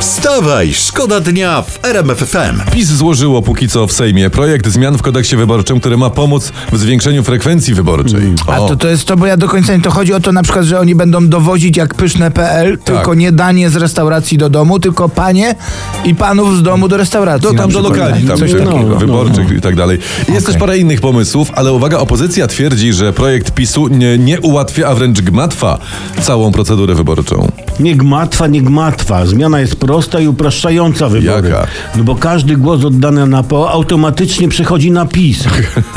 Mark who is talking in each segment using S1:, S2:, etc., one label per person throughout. S1: Wstawaj, szkoda dnia w RMF FM.
S2: PiS złożyło póki co w Sejmie projekt zmian w kodeksie wyborczym, który ma pomóc w zwiększeniu frekwencji wyborczej.
S3: A
S2: O,
S3: to, to jest to, bo ja do końca nie to chodzi o to na przykład, że oni będą dowozić jak pyszne.pl,
S2: Tak.
S3: tylko nie danie z restauracji do domu, tylko panie i panów z domu do restauracji.
S2: to
S3: na
S2: No, tam do
S3: przykład.
S2: lokali, tam
S3: Coś
S2: tych
S3: takiego.
S2: wyborczych i tak dalej. Jest też parę innych pomysłów, ale uwaga, opozycja twierdzi, że projekt PiSu nie, nie ułatwia, a wręcz gmatwa całą procedurę wyborczą.
S4: Nie gmatwa, nie gmatwa. Zmiana jest prosta i upraszczająca wybory.
S2: Jaka?
S4: No bo każdy głos oddany na PO automatycznie przechodzi na PiS.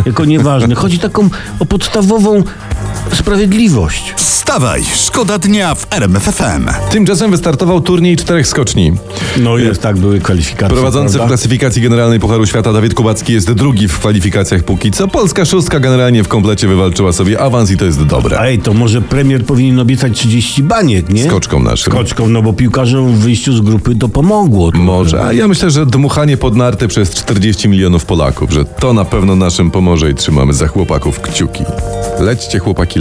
S4: Jako nieważny. Chodzi taką o podstawową sprawiedliwość.
S1: Wstawaj, szkoda dnia w RMF FM.
S2: Tymczasem wystartował turniej czterech skoczni.
S4: No jest, tak były kwalifikacje.
S2: Y, Prowadzący w
S4: prawda?
S2: klasyfikacji generalnej Pucharu Świata Dawid Kubacki jest drugi w kwalifikacjach póki co. Polska szóstka generalnie w komplecie wywalczyła sobie awans i to jest dobre.
S4: Ej, to może premier powinien obiecać 30 baniek, nie?
S2: Skoczką naszym.
S4: Skoczką, no bo piłkarzom w wyjściu z grupy to pomogło.
S2: Może, a ja myślę, że dmuchanie pod narty przez 40 milionów Polaków, że to na pewno naszym pomoże i trzymamy za chłopaków kciuki. Lećcie chłopaki,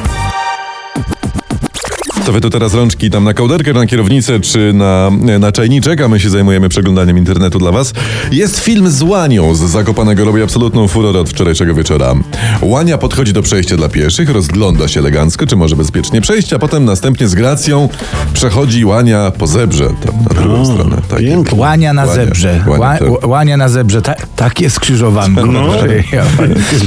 S2: To wy tu teraz rączki tam na kołderkę, na kierownicę czy na, na czajniczek, a my się zajmujemy przeglądaniem internetu dla was. Jest film z Łanią z Zakopanego, robi absolutną furorę od wczorajszego wieczora. Łania podchodzi do przejścia dla pieszych, rozgląda się elegancko, czy może bezpiecznie przejść, a potem następnie z gracją przechodzi Łania po zebrze, tam na drugą stronę. Tak.
S4: Pięknie.
S3: Łania na
S2: Łania,
S3: zebrze.
S2: łania,
S3: Ła-
S2: tak.
S3: ł- Łania na zebrze. Ta, takie skrzyżowanko. Ja,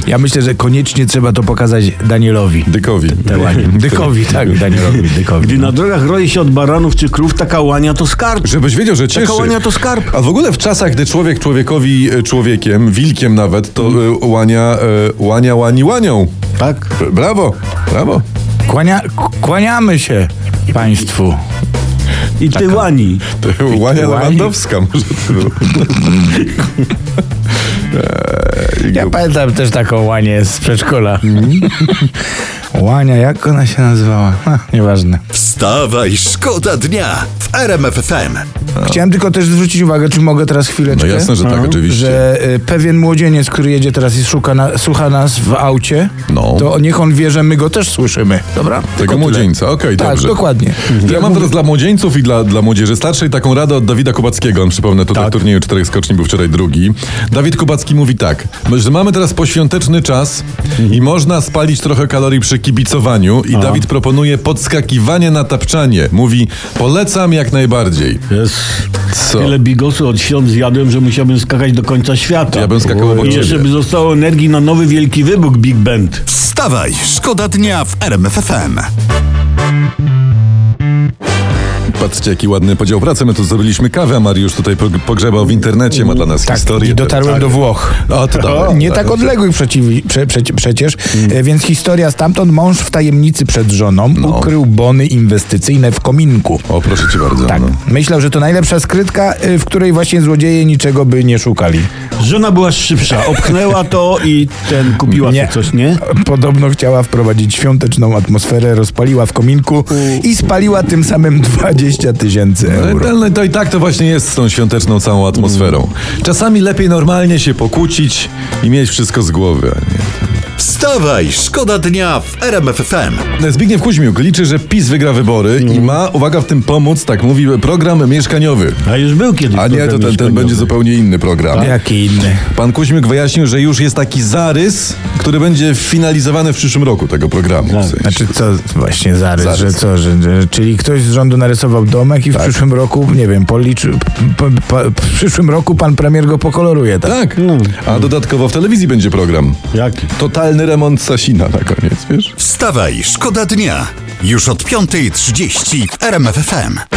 S3: ja myślę, że koniecznie trzeba to pokazać Danielowi.
S2: Dykowi.
S3: Te łanie. Dykowi, tak. Danielowi, Dykowi.
S4: Gdy na drogach roi się od baranów czy krów, taka łania to skarb.
S2: Żebyś wiedział, że cieszy.
S4: łania to skarb.
S2: A w ogóle w czasach, gdy człowiek człowiekowi e, człowiekiem, wilkiem nawet, to
S3: Mhm.
S2: e, łania, e, łania łani łanią.
S4: Tak?
S2: B- Brawo, brawo.
S3: Kłania, kłaniamy się państwu.
S4: I ty łani.
S2: To Łania
S3: łani.
S2: Lewandowska może to było. Eee,
S3: Ja pamiętam też taką łanię z przedszkola. Łania, jak ona się nazywała? Ha, nieważne.
S1: Wstawaj, szkoda dnia w RMF FM.
S3: Chciałem tylko też zwrócić uwagę, czy mogę teraz chwileczkę?
S2: No jasne, że tak, oczywiście.
S3: Że y, pewien młodzieniec, który jedzie teraz i szuka na, słucha nas w aucie,
S2: No.
S3: to niech on wie, że my go też słyszymy. Dobra? Tylko
S2: Tego
S3: tyle.
S2: młodzieńca, okej,
S3: Tak,
S2: dobrze.
S3: dokładnie.
S2: To ja mam teraz dla młodzieńców i dla, dla młodzieży starszej taką radę od Dawida Kubackiego. On przypomnę, tutaj w
S3: Tak.
S2: turnieju czterech skoczni był wczoraj drugi. Dawid Kubacki mówi tak, że mamy teraz poświąteczny czas
S3: Mhm.
S2: i można spalić trochę kalorii przy kibicowaniu i Dawid proponuje podskakiwanie na tapczanie. Mówi, polecam jak najbardziej.
S4: Jest.
S2: Co?
S4: Tyle bigosu od świąt zjadłem, że musiałbym skakać do końca świata.
S2: Ja bym skakał obok
S4: I
S2: ciebie.
S4: jeszcze by zostało energii na nowy wielki wybuch Big Band.
S1: Wstawaj, szkoda dnia w RMF FM.
S2: Patrzcie, jaki ładny podział pracy. My tu zrobiliśmy kawę, a Mariusz tutaj pog- pogrzebał w internecie, ma dla nas
S3: Tak,
S2: historię.
S3: i dotarłem do Włoch.
S2: O, to dalej.
S3: Nie tak odległych przeciwi, prze, przecie- przecież. E, Więc historia stamtąd mąż w tajemnicy przed żoną ukrył bony inwestycyjne w kominku.
S2: O, proszę cię bardzo.
S3: Tak.
S2: no.
S3: Myślał, że to najlepsza skrytka, y, w której właśnie złodzieje niczego by nie szukali.
S4: Żona była szybsza, opchnęła to i ten kupiła
S3: Nie.
S4: nie. coś, nie?
S3: Podobno chciała wprowadzić świąteczną atmosferę, rozpaliła w kominku i spaliła tym samym 20 tysięcy euro.
S2: Ten, to i tak to właśnie jest z tą świąteczną całą atmosferą. Czasami lepiej normalnie się pokłócić i mieć wszystko z głowy. a nie-
S1: Wstawaj, szkoda dnia w RMF FM.
S2: Zbigniew Kuźmiuk liczy, że PiS wygra wybory i ma, uwaga, w tym pomóc, tak mówi, program mieszkaniowy.
S4: A już tak był kiedyś.
S2: A nie, to ten, ten
S4: mieszkaniowy.
S2: będzie zupełnie inny program.
S3: Jaki inny.
S2: Pan Kuźmiuk wyjaśnił, że już jest taki zarys, który będzie finalizowany w przyszłym roku tego programu. W sensie.
S3: Znaczy co właśnie zarys,
S2: Zarys. Tak.
S3: że co, że, że, czyli ktoś z rządu narysował domek i w przyszłym roku, nie wiem, policzy, po, po, w przyszłym roku pan premier go pokoloruje, tak?
S2: Tak, a dodatkowo w telewizji będzie program.
S4: Jaki?
S2: Totalny remont Sasina na koniec, wiesz?
S1: Wstawaj, szkoda dnia. Już od 5.30 w RMF FM.